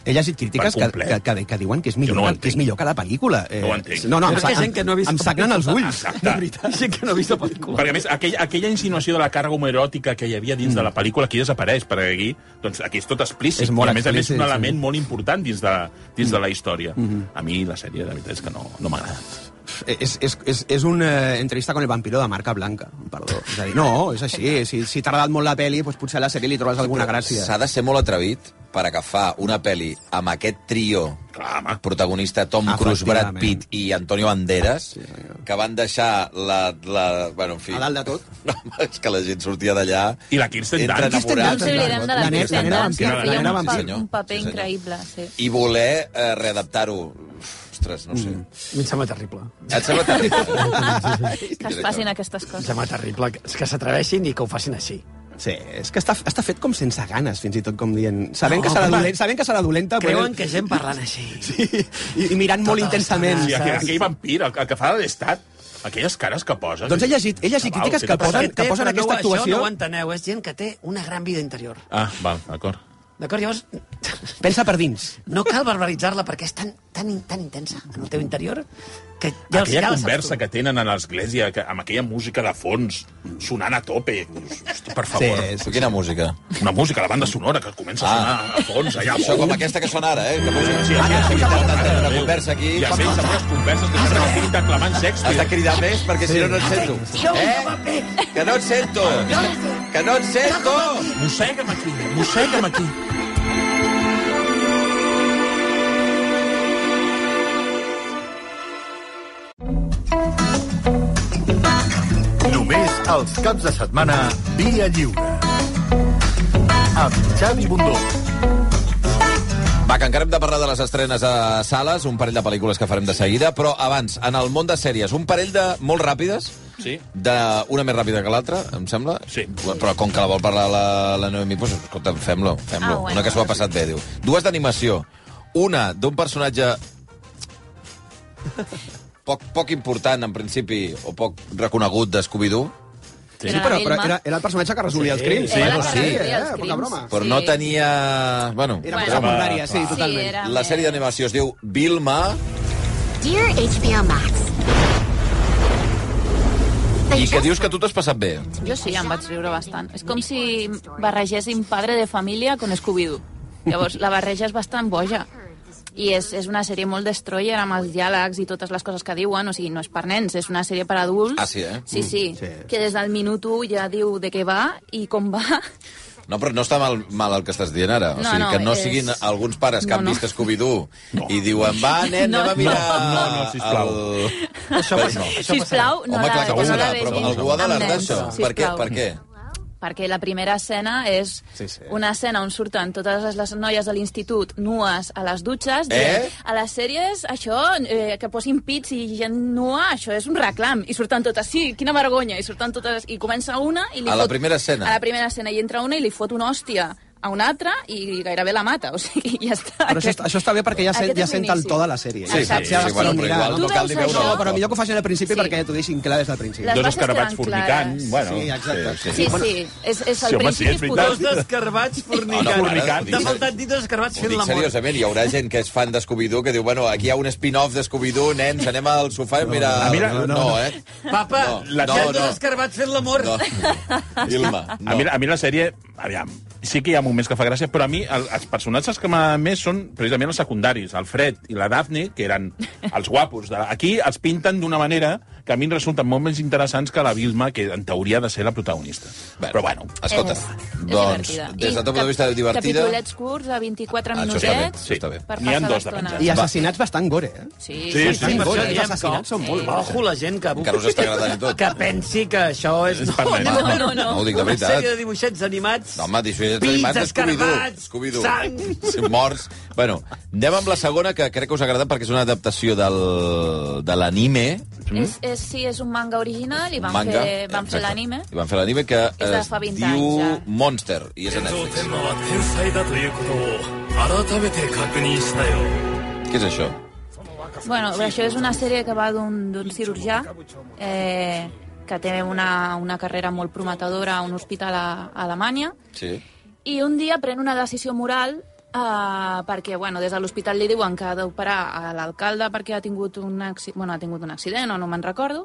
He llegit crítiques que, que, que, que diuen que és millor, no ho que, que és millor que la pel·lícula. Eh, No ho entenc. No, no, em, Però és que sa- hi ha gent que no ha vist em la sagnen els pel·lícula. ulls. Exacte. De veritat, gent que no ha vist la pel·lícula. Perquè, a més, aquella, aquella insinuació de la càrrega homoeròtica que hi havia dins mm. de la pel·lícula, aquí desapareix, perquè aquí, doncs, aquí és tot explícit. És molt I, a més a més, és explícit, un sí. element molt important dins de, dins de la història. Mhm. A mi la sèrie, la veritat, és que no, no m'ha agradat. Eh, És, és, és, és una entrevista con el vampiro de marca blanca, perdó. És a dir, no, és així. Si, si t'ha agradat molt la pel·li, doncs potser a la sèrie li trobes alguna gràcia. S'ha de ser molt atrevit per agafar una pel·li amb aquest trio protagonista Tom Cruise, Brad Efectivament. Pitt i Antonio Banderas, que van deixar la... la bueno, en fi, a dalt de tot. és que la gent sortia d'allà... I la Kirsten entre Dunst. Kirsten Dunst, enamorats. no ens oblidem de la Kirsten Dunst, que feia un, Sí, pa- senyor. un paper increïble, sí. I voler eh, readaptar-ho... Ostres, no ho sé. Mm. Mi em sembla terrible. Et sembla terrible? Que es facin aquestes Em coses. sembla terrible que- que s'atreveixin i que ho facin així. Sí, és que està, està fet com sense ganes, fins i tot, com dient... Sabem, No, que, serà home. dolent, sabem que serà dolenta, Ah, Creuen que gent parlant així. Sí, i, i mirant Tota molt intensament. Sí, aquell, saps? aquell vampir, el, el que fa de l'estat, aquelles cares que posa... Doncs he llegit- he llegit Chaval, crítiques què que t'ha posen- passat? que posen Però aquesta no, ho- actuació- Això no ho enteneu, és gent que té una gran vida interior. Ah, val, d'acord. D'acord, llavors... Pensa per dins. No cal verbalitzar-la perquè és tan, tan, in- tan intensa en el teu interior que ja els Aquella ja la saps conversa tu. que tenen a l'església, que- amb aquella música de fons, sonant a tope. Dius, Hosti, per favor. Sí, sí, Quina música? Una música, la banda sonora, que comença a sonar ah. a fons, allà. Això com aquesta que sona ara, eh? Que música... Sí, ara, sí, Una conversa aquí... I a més, amb les converses que s'han estat declamant Shakespeare. Has de cridar més perquè si no no et sento. Eh? Que no et sento! Que no et sento! Mossega'm aquí, mossega'm aquí. Només els caps de setmana Via Lliure. Amb Xavi Bundó. Va, que encara hem de parlar de les estrenes a sales, un parell de pel·lícules que farem de seguida, però abans, en el món de sèries, un parell de molt ràpides, Sí. de una més ràpida que l'altra, em sembla. Sí. Però com que la vol parlar la, la Noemi, doncs, escolta, fem-lo, fem-lo. Ah, bueno. Una que s'ho ha passat bé, diu. Dues d'animació. Una d'un personatge poc, poc important, en principi, o poc reconegut de Scooby-Doo. Sí, però, però era, era el personatge que resolia els crims. Sí, Bueno, sí. sí, Era eh, poca broma. Però no tenia... Bueno, Era molt secundària, sí, totalment. era... La sèrie d'animació es diu Vilma, Dear HBO Max. i que dius que tu t'has passat bé. Jo sí, em vaig riure bastant. És com si barregéssim Padre de Família con Scooby-Doo. Llavors, la barreja és bastant boja. I és, és una sèrie molt destroyer amb els diàlegs i totes les coses que diuen. O sigui, no és per nens, és una sèrie per adults. Ah, sí, eh? Sí, sí, Mm, sí. que des del minut 1 ja diu de què va i com va. No, però no està mal, mal el que estàs dient ara. O No, sigui, no, que no és- siguin alguns pares que No, han no. vist Scooby-Doo i diuen, va, nen, No, anem a mirar... no, no, no, sisplau. El... Això Però passa- no. això Sisplau, no Home, clar la- que no la passarà, vegis però algú ha amb d'alertar nens, això. Per què? sisplau. Per què? Perquè la primera escena és Sí, sí. una escena on surten totes les noies de l'institut nues a les dutxes, dient, Eh? a les sèries, això, eh, que posin pits i gent nua, això és un reclam. I surten totes, sí, quina vergonya, i surten totes... I comença una i li A fot... la primera escena. A la primera escena, i entra una i li fot una hòstia a una altra i gairebé la mata, o sigui, ja està. Però això, està- això està bé perquè ja, sent, Aquest ja és sent el l'inici. to de la sèrie. Sí, ja saps, sí, ja sí, vas bueno, per on però mirar, igual no no cal ni veure-ho. No, però millor que ho facin al principi perquè t'ho deixin clar des del principi. Les Dos bases escarabats queden fornicant, clares. bueno, Sí, exacte. Sí, sí, Bueno, és, és Sí, el home, sí, principi és veritat. putós. Dos descarbats fornicant. Oh, no, fornicant. T'ha faltat dir dos descarbats Ho fent dic eh? l'amor. seriosament, hi haurà gent que és fan de Scooby-Doo que diu, bueno, aquí hi ha un spin-off de Scooby-Doo, nens, anem al sofà i mira... Ah, mira, no, no, no, no. eh? Papa, No, hi ha no, dos no. descarbats fent l'amor. No. Vilma, No. A, mi, a mi la sèrie, aviam, sí que hi ha moments que fa gràcia, però a mi el, els personatges que m'agraden més són precisament els secundaris, el Fred i la Daphne, que eren els guapos. De... Aquí els pinten d'una manera que a mi em resulten molt més interessants que la Vilma, que en teoria ha de ser la protagonista. Bueno, però bueno. Escolta, És doncs, divertida. des del I punt de cap- vista divertida... Capitolets curts de 24 Ah, això minutets. està bé, això està bé. per N'hi ha passar dos de l'estona. I assassinats bastant gore, eh? Sí, sí, per sí, això sí, diem els assassinats que- són molt bons. Ojo, la gent que... Encara us està agradant i tot. Que pensi que això és... per nens. No, no, no. No ho dic de veritat. Una sèrie de dibuixets animats... No, home, disfressats Pits, animats de Scooby-Doo. escarabats, Scooby-Doo. sang. Sí, morts. Bueno, anem amb la segona, que crec que us ha agradat perquè és una adaptació del, de l'anime. És, és, sí, és un manga original i van Mm. Manga. fer, van fer Exacte. l'anime. I van fer l'anime que És de es fa 20 diu anys, ja. Monster, i és a Netflix. は天才だということを改めて確認したよ Què és això? Bueno, però això és una sèrie que va d'un d'un cirurgià eh, que té una, una carrera molt prometedora a un hospital a, a Alemanya Sí. i un dia pren una decisió moral Uh, perquè, bueno, des de l'hospital li diuen que ha d'operar a l'alcalde perquè ha tingut, un acci... bueno, ha tingut un accident o no me'n recordo,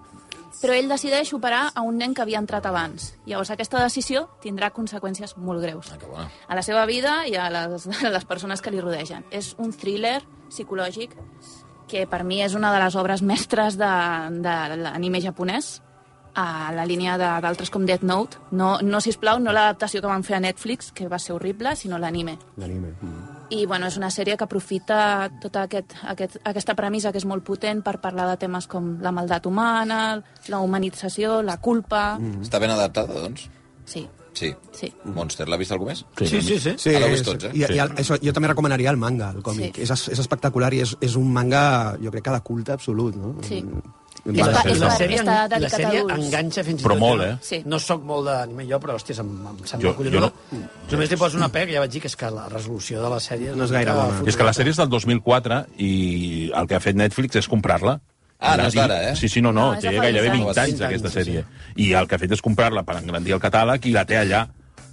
però ell decideix operar a un nen que havia entrat abans. Llavors, aquesta decisió tindrà conseqüències molt greus. Ah, a la seva vida i a les, a les persones que li rodegen. És un thriller psicològic que per mi és una de les obres mestres de, de l'anime japonès a la línia de- d'altres com Death Note. No, no sisplau, no l'adaptació que van fer a Netflix, que va ser horrible, sinó l'anime. L'anime. Mm. I bueno, és una sèrie que aprofita tota aquest, aquest, aquesta premissa que és molt potent per parlar de temes com la maldat humana, la humanització, la culpa... Mm. Està ben adaptada, doncs? Sí. Sí. Sí. Monster, l'ha vist algú més? sí Ara ho és, vist tots, eh? i, i el, això, jo també recomanaria el manga, el còmic. Sí. Sí. És, es- és espectacular i és, és un manga, jo crec que de culte absolut, no? Sí. I I la, la- i la la- sèrie, està i la dedicat a sèrie adults. enganxa fins Però i tot. molt, jo. eh? Sí. No sóc molt d'anime jo, però, hòstia, em, em sembla Jo- jo collonada. Jo no... Només li poso una pega, ja vaig dir que és que la resolució de la sèrie... No és gaire bona. És que la sèrie és del 2004 i el que ha fet Netflix és comprar-la. Ah, no és Engrandir- d'ara, eh? Sí, sí, no, no, No, és té de fa gairebé anys. 20 anys, Fa aquesta anys, sí, sèrie. I el que ha fet és comprar-la per engrandir el catàleg i la té allà.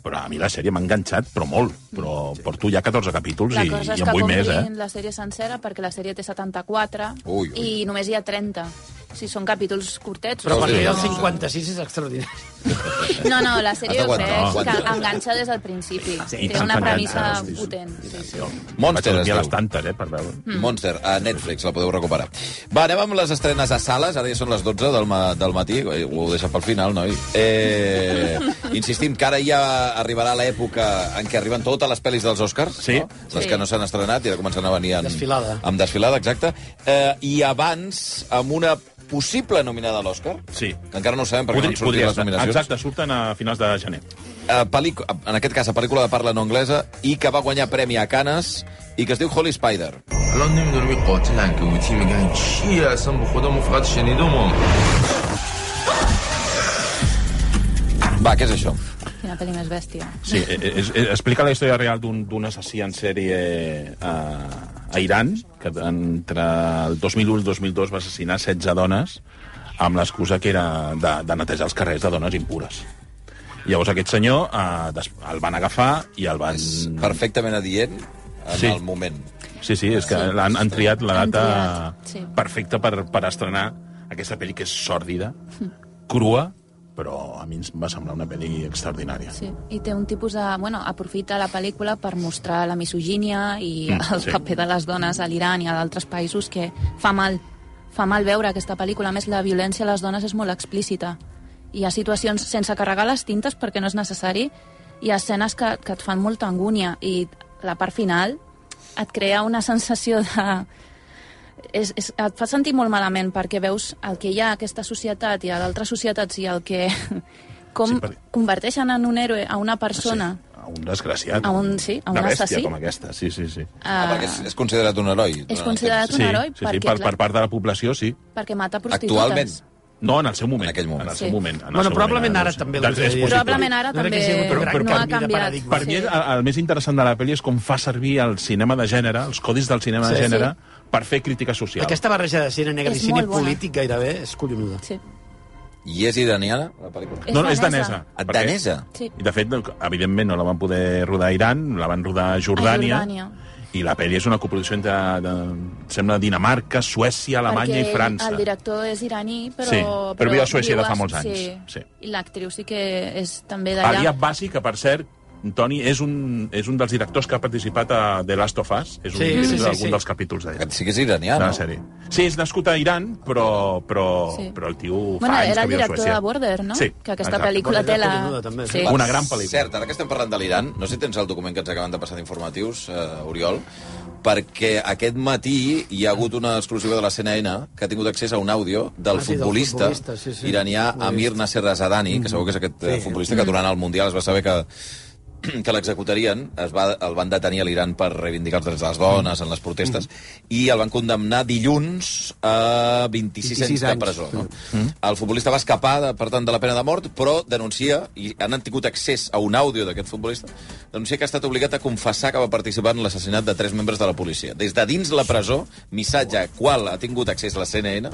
Però a mi la sèrie m'ha enganxat, però molt. Però porto ja 14 capítols La i, cosa és i en que vull més, eh? comprin la sèrie sencera perquè la sèrie té 74 Ui, ui. i només hi ha 30. O sigui, són capítols curtets. Però a o sigui, partir del no- 56 és extraordinari. No, no, la sèrie Has jo d'aguantar, crec que aguanta. enganxa des del principi. eh? Sí, Té una enganxa, premissa hosti, potent. Sí, sí. Monster, dormir a les tantes, eh, per veure. Mm. Monster, a Netflix, la podeu recuperar. Va, anem amb les estrenes a sales, ara ja són les 12 del, ma del matí, Eh, ho deixa pel final, noi. Eh, insistim que ara ja arribarà l'època en què arriben totes les pel·lis dels Oscars, sí. no? les Sí. que no s'han estrenat, i ja comencen a venir en, Desfilada. amb desfilada, exacte. Eh, I abans, amb una possible nominada a l'Oscar, sí. que encara no ho sabem perquè Podri- no han sortit podria les estar. nominacions. Exacte, surten a finals de gener. eh, pel·lícula, en aquest cas, a pel·lícula de parla no anglesa, i que va guanyar premi a Canes, i que es diu Holy Spider. الان داره به قاتلن که اوتی میگن چیه اصلا به خودمون فقط شنیدم Va, què és això? Quina pel·li més bèstia. Sí, eh, eh, eh, explica la història real d'un d'un assassí en sèrie a, a Iran, que entre el 2001 i el 2002 va assassinar 16 dones amb l'excusa que era de, de netejar els carrers de dones impures. Llavors aquest senyor eh, des- el van agafar i el van... És perfectament adient en el moment. Sí, sí, és que Sí. l'han han triat la Han data triat, sí. perfecta per, per estrenar aquesta pel·li que és sòrdida, crua, però a mi ens va semblar una pel·li extraordinària. Sí. I té un tipus de... Bueno, aprofita la pel·lícula per mostrar la misogínia i Mm, el sí. paper de les dones a l'Iran i a d'altres països que fa mal. Fa mal veure aquesta pel·lícula. A més, la violència a les dones és molt explícita. Hi ha situacions sense carregar les tintes perquè no és necessari. Hi ha escenes que, que et fan molta angúnia i la part final et crea una sensació de és, és, et fa sentir molt malament perquè veus el que hi ha a aquesta societat i a d'altres societats i el que... com sí, per... Ah, converteixen en un héroe a una persona. A un desgraciat. A un- sí, a un una bèstia assassí. com aquesta, sí, sí, sí. Ah, perquè és, és considerat un heroi. És considerat un heroi sí, sí, perquè, sí, per, clar- per part de la població, sí. Sí. Perquè mata prostitutes. No, en el seu moment. En aquell moment. En el seu Sí. moment. En el Bueno, seu probablement moment, ara sí. també Doncs l'hauria és de dir. possible. Probablement ara Jo crec que també sí, però- però no per ha mi de canviat. paradigma. Per mi, el, el més interessant de la pel·li és com fa servir el cinema de gènere, els codis del cinema Sí, de sí. gènere, per fer crítica social. Aquesta barreja de cine negra És i cine molt bona. polític gairebé és collonuda. Sí. I és iraniana, la pel·lícula? No, no, és danesa. perquè- Danesa? Sí. I, de fet, evidentment, no la van poder rodar a Iran, la van rodar a Jordània. I la pel·li és una coproducció entre, de, sembla, Dinamarca, Suècia, Alemanya perquè i França. El director és iraní, però... Sí, però viu a Suècia viu de fa molts anys, Sí. sí. I l'actriu sí que és també d'allà. Aliab Bassi, que per cert, Toni, és un, és un dels directors que ha participat a The Last of Us. És un, Sí, és sí, sí, algun sí. dels capítols d'allà. Sí que és iranià, de no? la sèrie. Sí, és nascut a Iran, però, però, Sí. sí. però el tio fa Bueno, anys era que el viu a director Suècia. de Border, no? Sí, Que aquesta exacte. pel·lícula té la... Sí. Cert, ara que estem parlant de l'Iran, no sé si tens el document que ens acaben de passar d'informatius, eh, Oriol, perquè aquest matí hi ha hagut una exclusiva de la CNN que ha tingut accés a un àudio del Ah, sí, del futbolista, futbolista, sí, sí. iranià Amir Nasser Azadani, que segur que és aquest eh, Sí. Mm. futbolista que durant el Mundial es va saber que que l'executarien, es va, el van detenir a l'Iran per reivindicar els drets de les dones en les protestes, i el van condemnar dilluns a 26, 26 anys de anys. presó. No? El futbolista va escapar, de, per tant, de la pena de mort, però denuncia, i han tingut accés a un àudio d'aquest futbolista, denuncia que ha estat obligat a confessar que va participar en l'assassinat de tres membres de la policia. Des de dins la presó, missatge a qual ha tingut accés la CNN,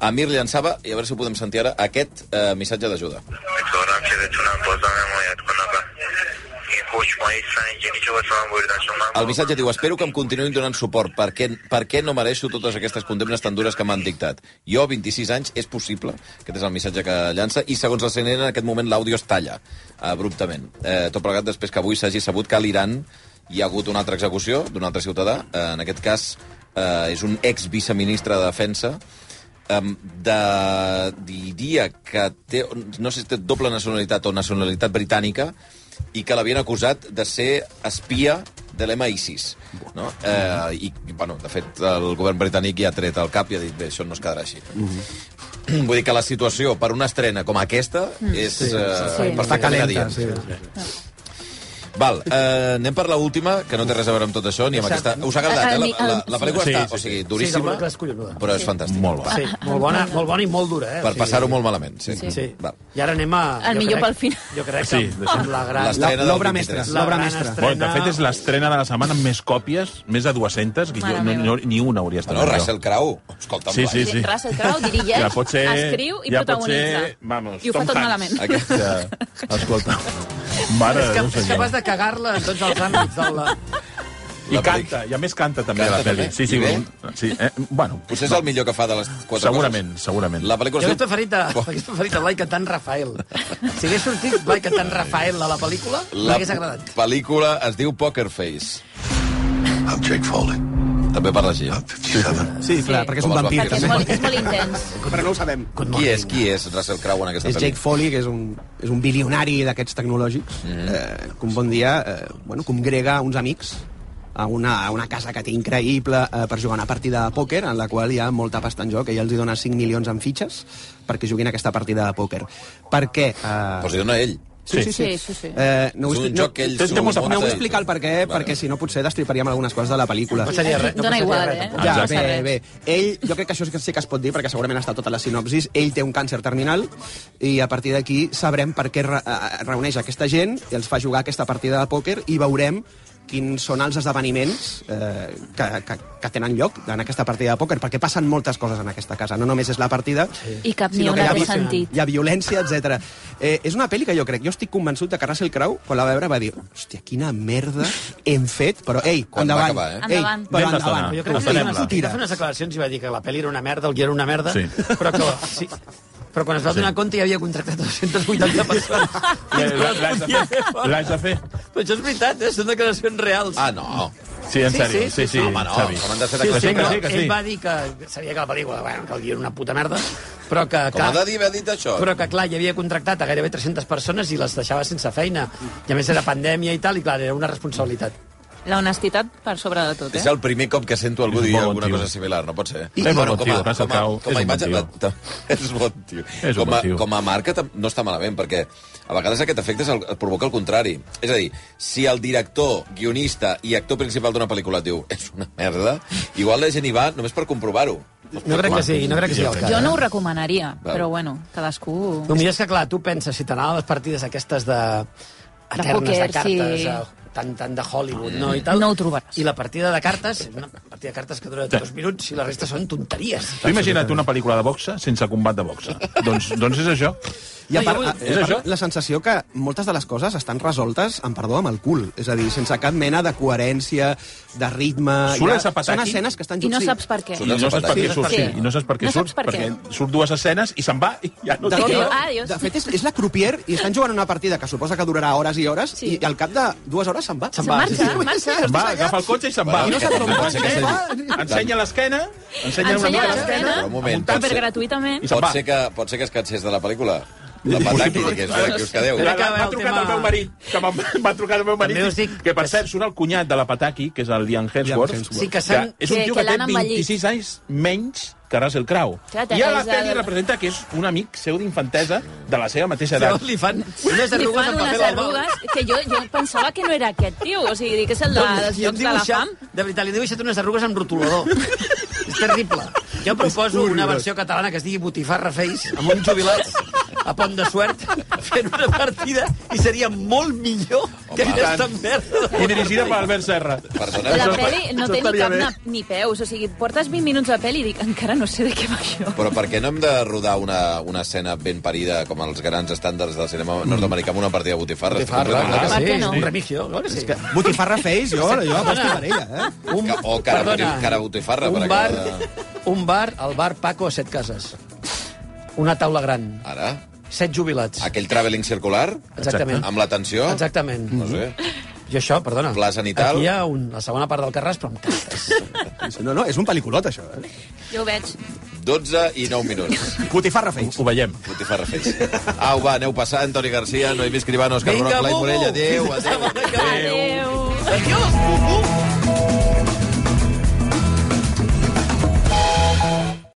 Amir llançava, i a veure si ho podem sentir ara, aquest eh, missatge d'ajuda. امیدوارم که بتونم بازم حمایت کنم و این El missatge diu, espero que em continuïn donant suport, perquè, perquè no mereixo totes aquestes condemnes tan dures que m'han dictat. Jo, 26 anys, és possible. Aquest és el missatge que llança. I segons la CNN, en aquest moment l'àudio es talla, abruptament. Eh, tot plegat després que avui s'hagi sabut que a l'Iran hi ha hagut una altra execució d'un altre ciutadà. Eh, en aquest cas, eh, és un ex-viceministre de Defensa, um, de, diria que té, no sé si té doble nacionalitat o nacionalitat britànica, i que l'havien acusat de ser espia de l'MI6. No? Eh, I, bueno, de fet, el govern britànic ja ha tret el cap i ha dit, bé, això no es quedarà així. Mm -hmm. Vull dir que la situació per una estrena com aquesta Mm. és... eh, Sí, sí, sí. per Està estar calenta, Sí, Val, eh, anem per la última, que no té res a veure amb tot això, ni amb Exacte. aquesta... Us ha agradat, eh? La, El- la, la pel·lícula sí, està, sí, o sigui, sí. Sí, és duríssima, una pel·lícula escollonuda. però és fantàstica. Molt Sí, molt bona, molt bona i molt dura, eh? Per passar-ho molt malament, sí. Sí. sí. Val. I ara anem a... El jo millor crec- pel final. Jo crec Sí, que sí, deixem- amb la gran... L'estrena del 23. La gran Bueno, estrena... de fet, és l'estrena de la setmana amb més còpies, més de 200, que jo, Mare no, meva. no, ni una hauria estat. Bueno, millor. Russell Crowe, escolta'm, Sí, sí, Sí, sí. Russell Crowe dirigeix, Ja pot ser- escriu i ja pot protagonitza. ser, vamos, I ho fa Tom tot Hanks. malament. Aquest, Ja. Escolta, mare és, de que, Déu és senyor. capaç de cagar-la en tots els àmbits de la... I canta, i a més canta també Canta la pel·li. també? Sí, sí, I bé? un- sí eh, bueno, Potser és no, el millor que fa de les quatre Segurament, segurament. coses. La Jo pel·lícula hagués es diu... preferit, a, hagués preferit a Blai cantant Rafael. Si hagués sortit Blai cantant Rafael a la pel·lícula, La m'hagués agradat. pel·lícula es diu Poker Face. I'm Jake Foley. També parla així. eh? Sí, clar, perquè és un Com els vampir. vampirs. És molt, és molt intens. Però no ho sabem. Qui és, qui és Russell Crowe en aquesta És Jake pel·lícula? Foley, que és un, és un bilionari d'aquests tecnològics, Mhm. mm -hmm. eh, que un bon dia eh, bueno, congrega uns amics a una, a una casa que té increïble eh, per jugar una partida de pòquer en la qual hi ha molta pasta en joc. Ell els hi dona 5 milions en fitxes perquè juguin aquesta partida de pòquer. Per què? Eh... Però si dona ell. Sí, sí, sí. Sí, sí, sí. Eh, no És vull, un no, joc que ells eh? no, s'ho vull- munta no vull ell. explicar el per què, perquè si no potser destriparíem algunes coses de la pel·lícula. No passaria res. No Dona passaria igual, res, eh? tampoc. Ja, No passa bé, res. bé. Ell, jo crec que això sí que es pot dir, perquè segurament està tota la sinopsis, ell té un càncer terminal i a partir d'aquí sabrem per què re eh, reuneix aquesta gent, els fa jugar aquesta partida de pòquer i veurem quins són els esdeveniments eh, que, que, que tenen lloc en aquesta partida de pòquer, perquè passen moltes coses en aquesta casa. No només és la partida, I cap ni sinó que una hi ha, té vi- sentit. hi ha violència, etc. Eh, és una pel·li que jo crec, jo estic convençut de que Russell Crowe, quan la va veure, va dir hòstia, quina merda hem fet, però ei, Quan va endavant. acabar, eh? Ei, Endavant. però Anem d'estona. endavant. Jo crec que Entenem-la. va fer, va fer unes declaracions i va dir que la pel·li era una merda, el guió era una merda, Sí. però que... Sí, però quan es va Sí. donar compte ja havia contractat 280 persones. Eh, L'has de fer. L'has de fer. Però això és veritat, eh? són declaracions reals. Ah, no. Sí, en Sí, sèrio. sí, Sí, sí, sí, Home, no. Xavi. Com han de ser Sí, sí, que però sí, que sí. Ell va dir que sabia que la pel·lícula, bueno, que el guió era una puta merda, però que... Com ha que- de dir, ha dit això? Però que, clar, ja havia contractat a gairebé 300 persones i les deixava sense feina. I a més era pandèmia i tal, i clar, era una responsabilitat. L'honestitat per sobre de tot, És eh? el primer cop que sento algú És dir molt bon alguna tio. cosa similar, no pot ser. És molt bon tio, Russell Crowe, com és a un imatge... bon La, tio. ta, és bon tio. És un com, a, bon tio. com a marca tam- no està malament, perquè a vegades aquest efecte és el, et provoca el contrari. És a dir, si el director, guionista i actor principal d'una pel·lícula et diu és una merda, igual la gent hi va només per comprovar-ho. No crec que sigui, no crec que sigui el cas. Jo no ho recomanaria, Val. però bueno, cadascú... El millor és que, clar, tu penses, si t'anaven les partides aquestes de... Eternes, de, pòquer, cartes, sí. eh, tant, tant de Hollywood, no? I tal. No ho trobaràs. I la partida de cartes, una partida de cartes que dura dos minuts i la resta són tonteries. Tu imagina't una pel·lícula de boxa sense combat de boxa. doncs, doncs és això. I a No, part, jo a, vull- És a això? part la sensació que moltes de les coses estan resoltes, amb perdó, amb el cul. És a dir, sense cap mena de coherència, de ritme... Surt Hi ha- el Zapataki? Són escenes que estan... I no sí. saps per què. I no saps per què Sí, surt, sí. I no saps per què No surt, saps per què. perquè surt dues escenes i se'n va i ja no De, Sí, fet, torna. Ah, adiós. de fet, és, és la crupier i estan jugant una partida que suposa que durarà hores i hores Sí. i al cap de dues hores se'n va. Se'n va, marxa, sí, sí. marxa. Se'n va, agafa el cotxe i se'n va. I no saps on va, Potser que se'n va. Ensenya l'esquena, ensenya una Ensenya mica l'esquena. l'esquena, Però un moment, apuntant-se. pot ser- Supergratuïtament. I se'n Pot va. ser, que, pot ser que es cansés de la pel·lícula. La pataqui, que és d'aquí us quedeu. Va, Crec que va, va el trucar tema- el meu marit, que m'ha m'ha trucat el meu marit, També us dic que per que- cert surt el cunyat de la Pataki, que és el Liam Hemsworth, Liam Hemsworth. Sí, que s'han- és un que- tio que que, l'han té 26 anys menys que Russell Crowe. Clar, té I a la aquells pel·li del- representa que és un amic seu d'infantesa de la seva mateixa Llavors edat. Li fan unes Li arrugues en fan unes paper d'alba. arrugues que jo, jo pensava que no era aquest tio, o sigui, que és el de, Doncs, dels li han llocs de la dibuixat- fam. De veritat, li han dibuixat unes arrugues amb rotulador. és terrible. Jo proposo una versió catalana que es digui Botifarra Face, amb uns jubilats a Pont de Suert, fent una partida, i seria molt millor Que aquesta merda. I dirigida per Albert Serra. La pel·li no té ni cap na- ni peus, o sigui, portes 20 minuts de pel·li i dic, encara no sé de què va això. Però per què no hem de rodar una, una escena ben parida com els grans estàndards del cinema nord-americà amb una partida de botifarres? Botifarra, clar que sí. Per què no? Un remigio, clar que sí. Que... Botifarra Face, jo, jo aposto per ella, eh? Un... O cara, Perdona. Perdona, cara botifarra. Un per bar, acabar de- un bar, el bar Paco a Set Cases. Una taula gran. Ara? Set jubilats. Aquell travelling circular? Exactament. Ah, Amb l'atenció? Exactament. No sé. I això, perdona. Pla sanital? Aquí hi ha un, la segona part del Carràs, però amb cartes. No, no, és un pel·liculot, això. Eh? Jo ho veig. 12 i 9 minuts. Botifarra Face. Ho veiem. Botifarra Face. Au, va, aneu passant, Toni Garcia, Noemí Escribano, Òscar Vinga, Roc, Blai Bubu! Morell, adéu, adéu. Adéu. Adéu. Adiós, bubu!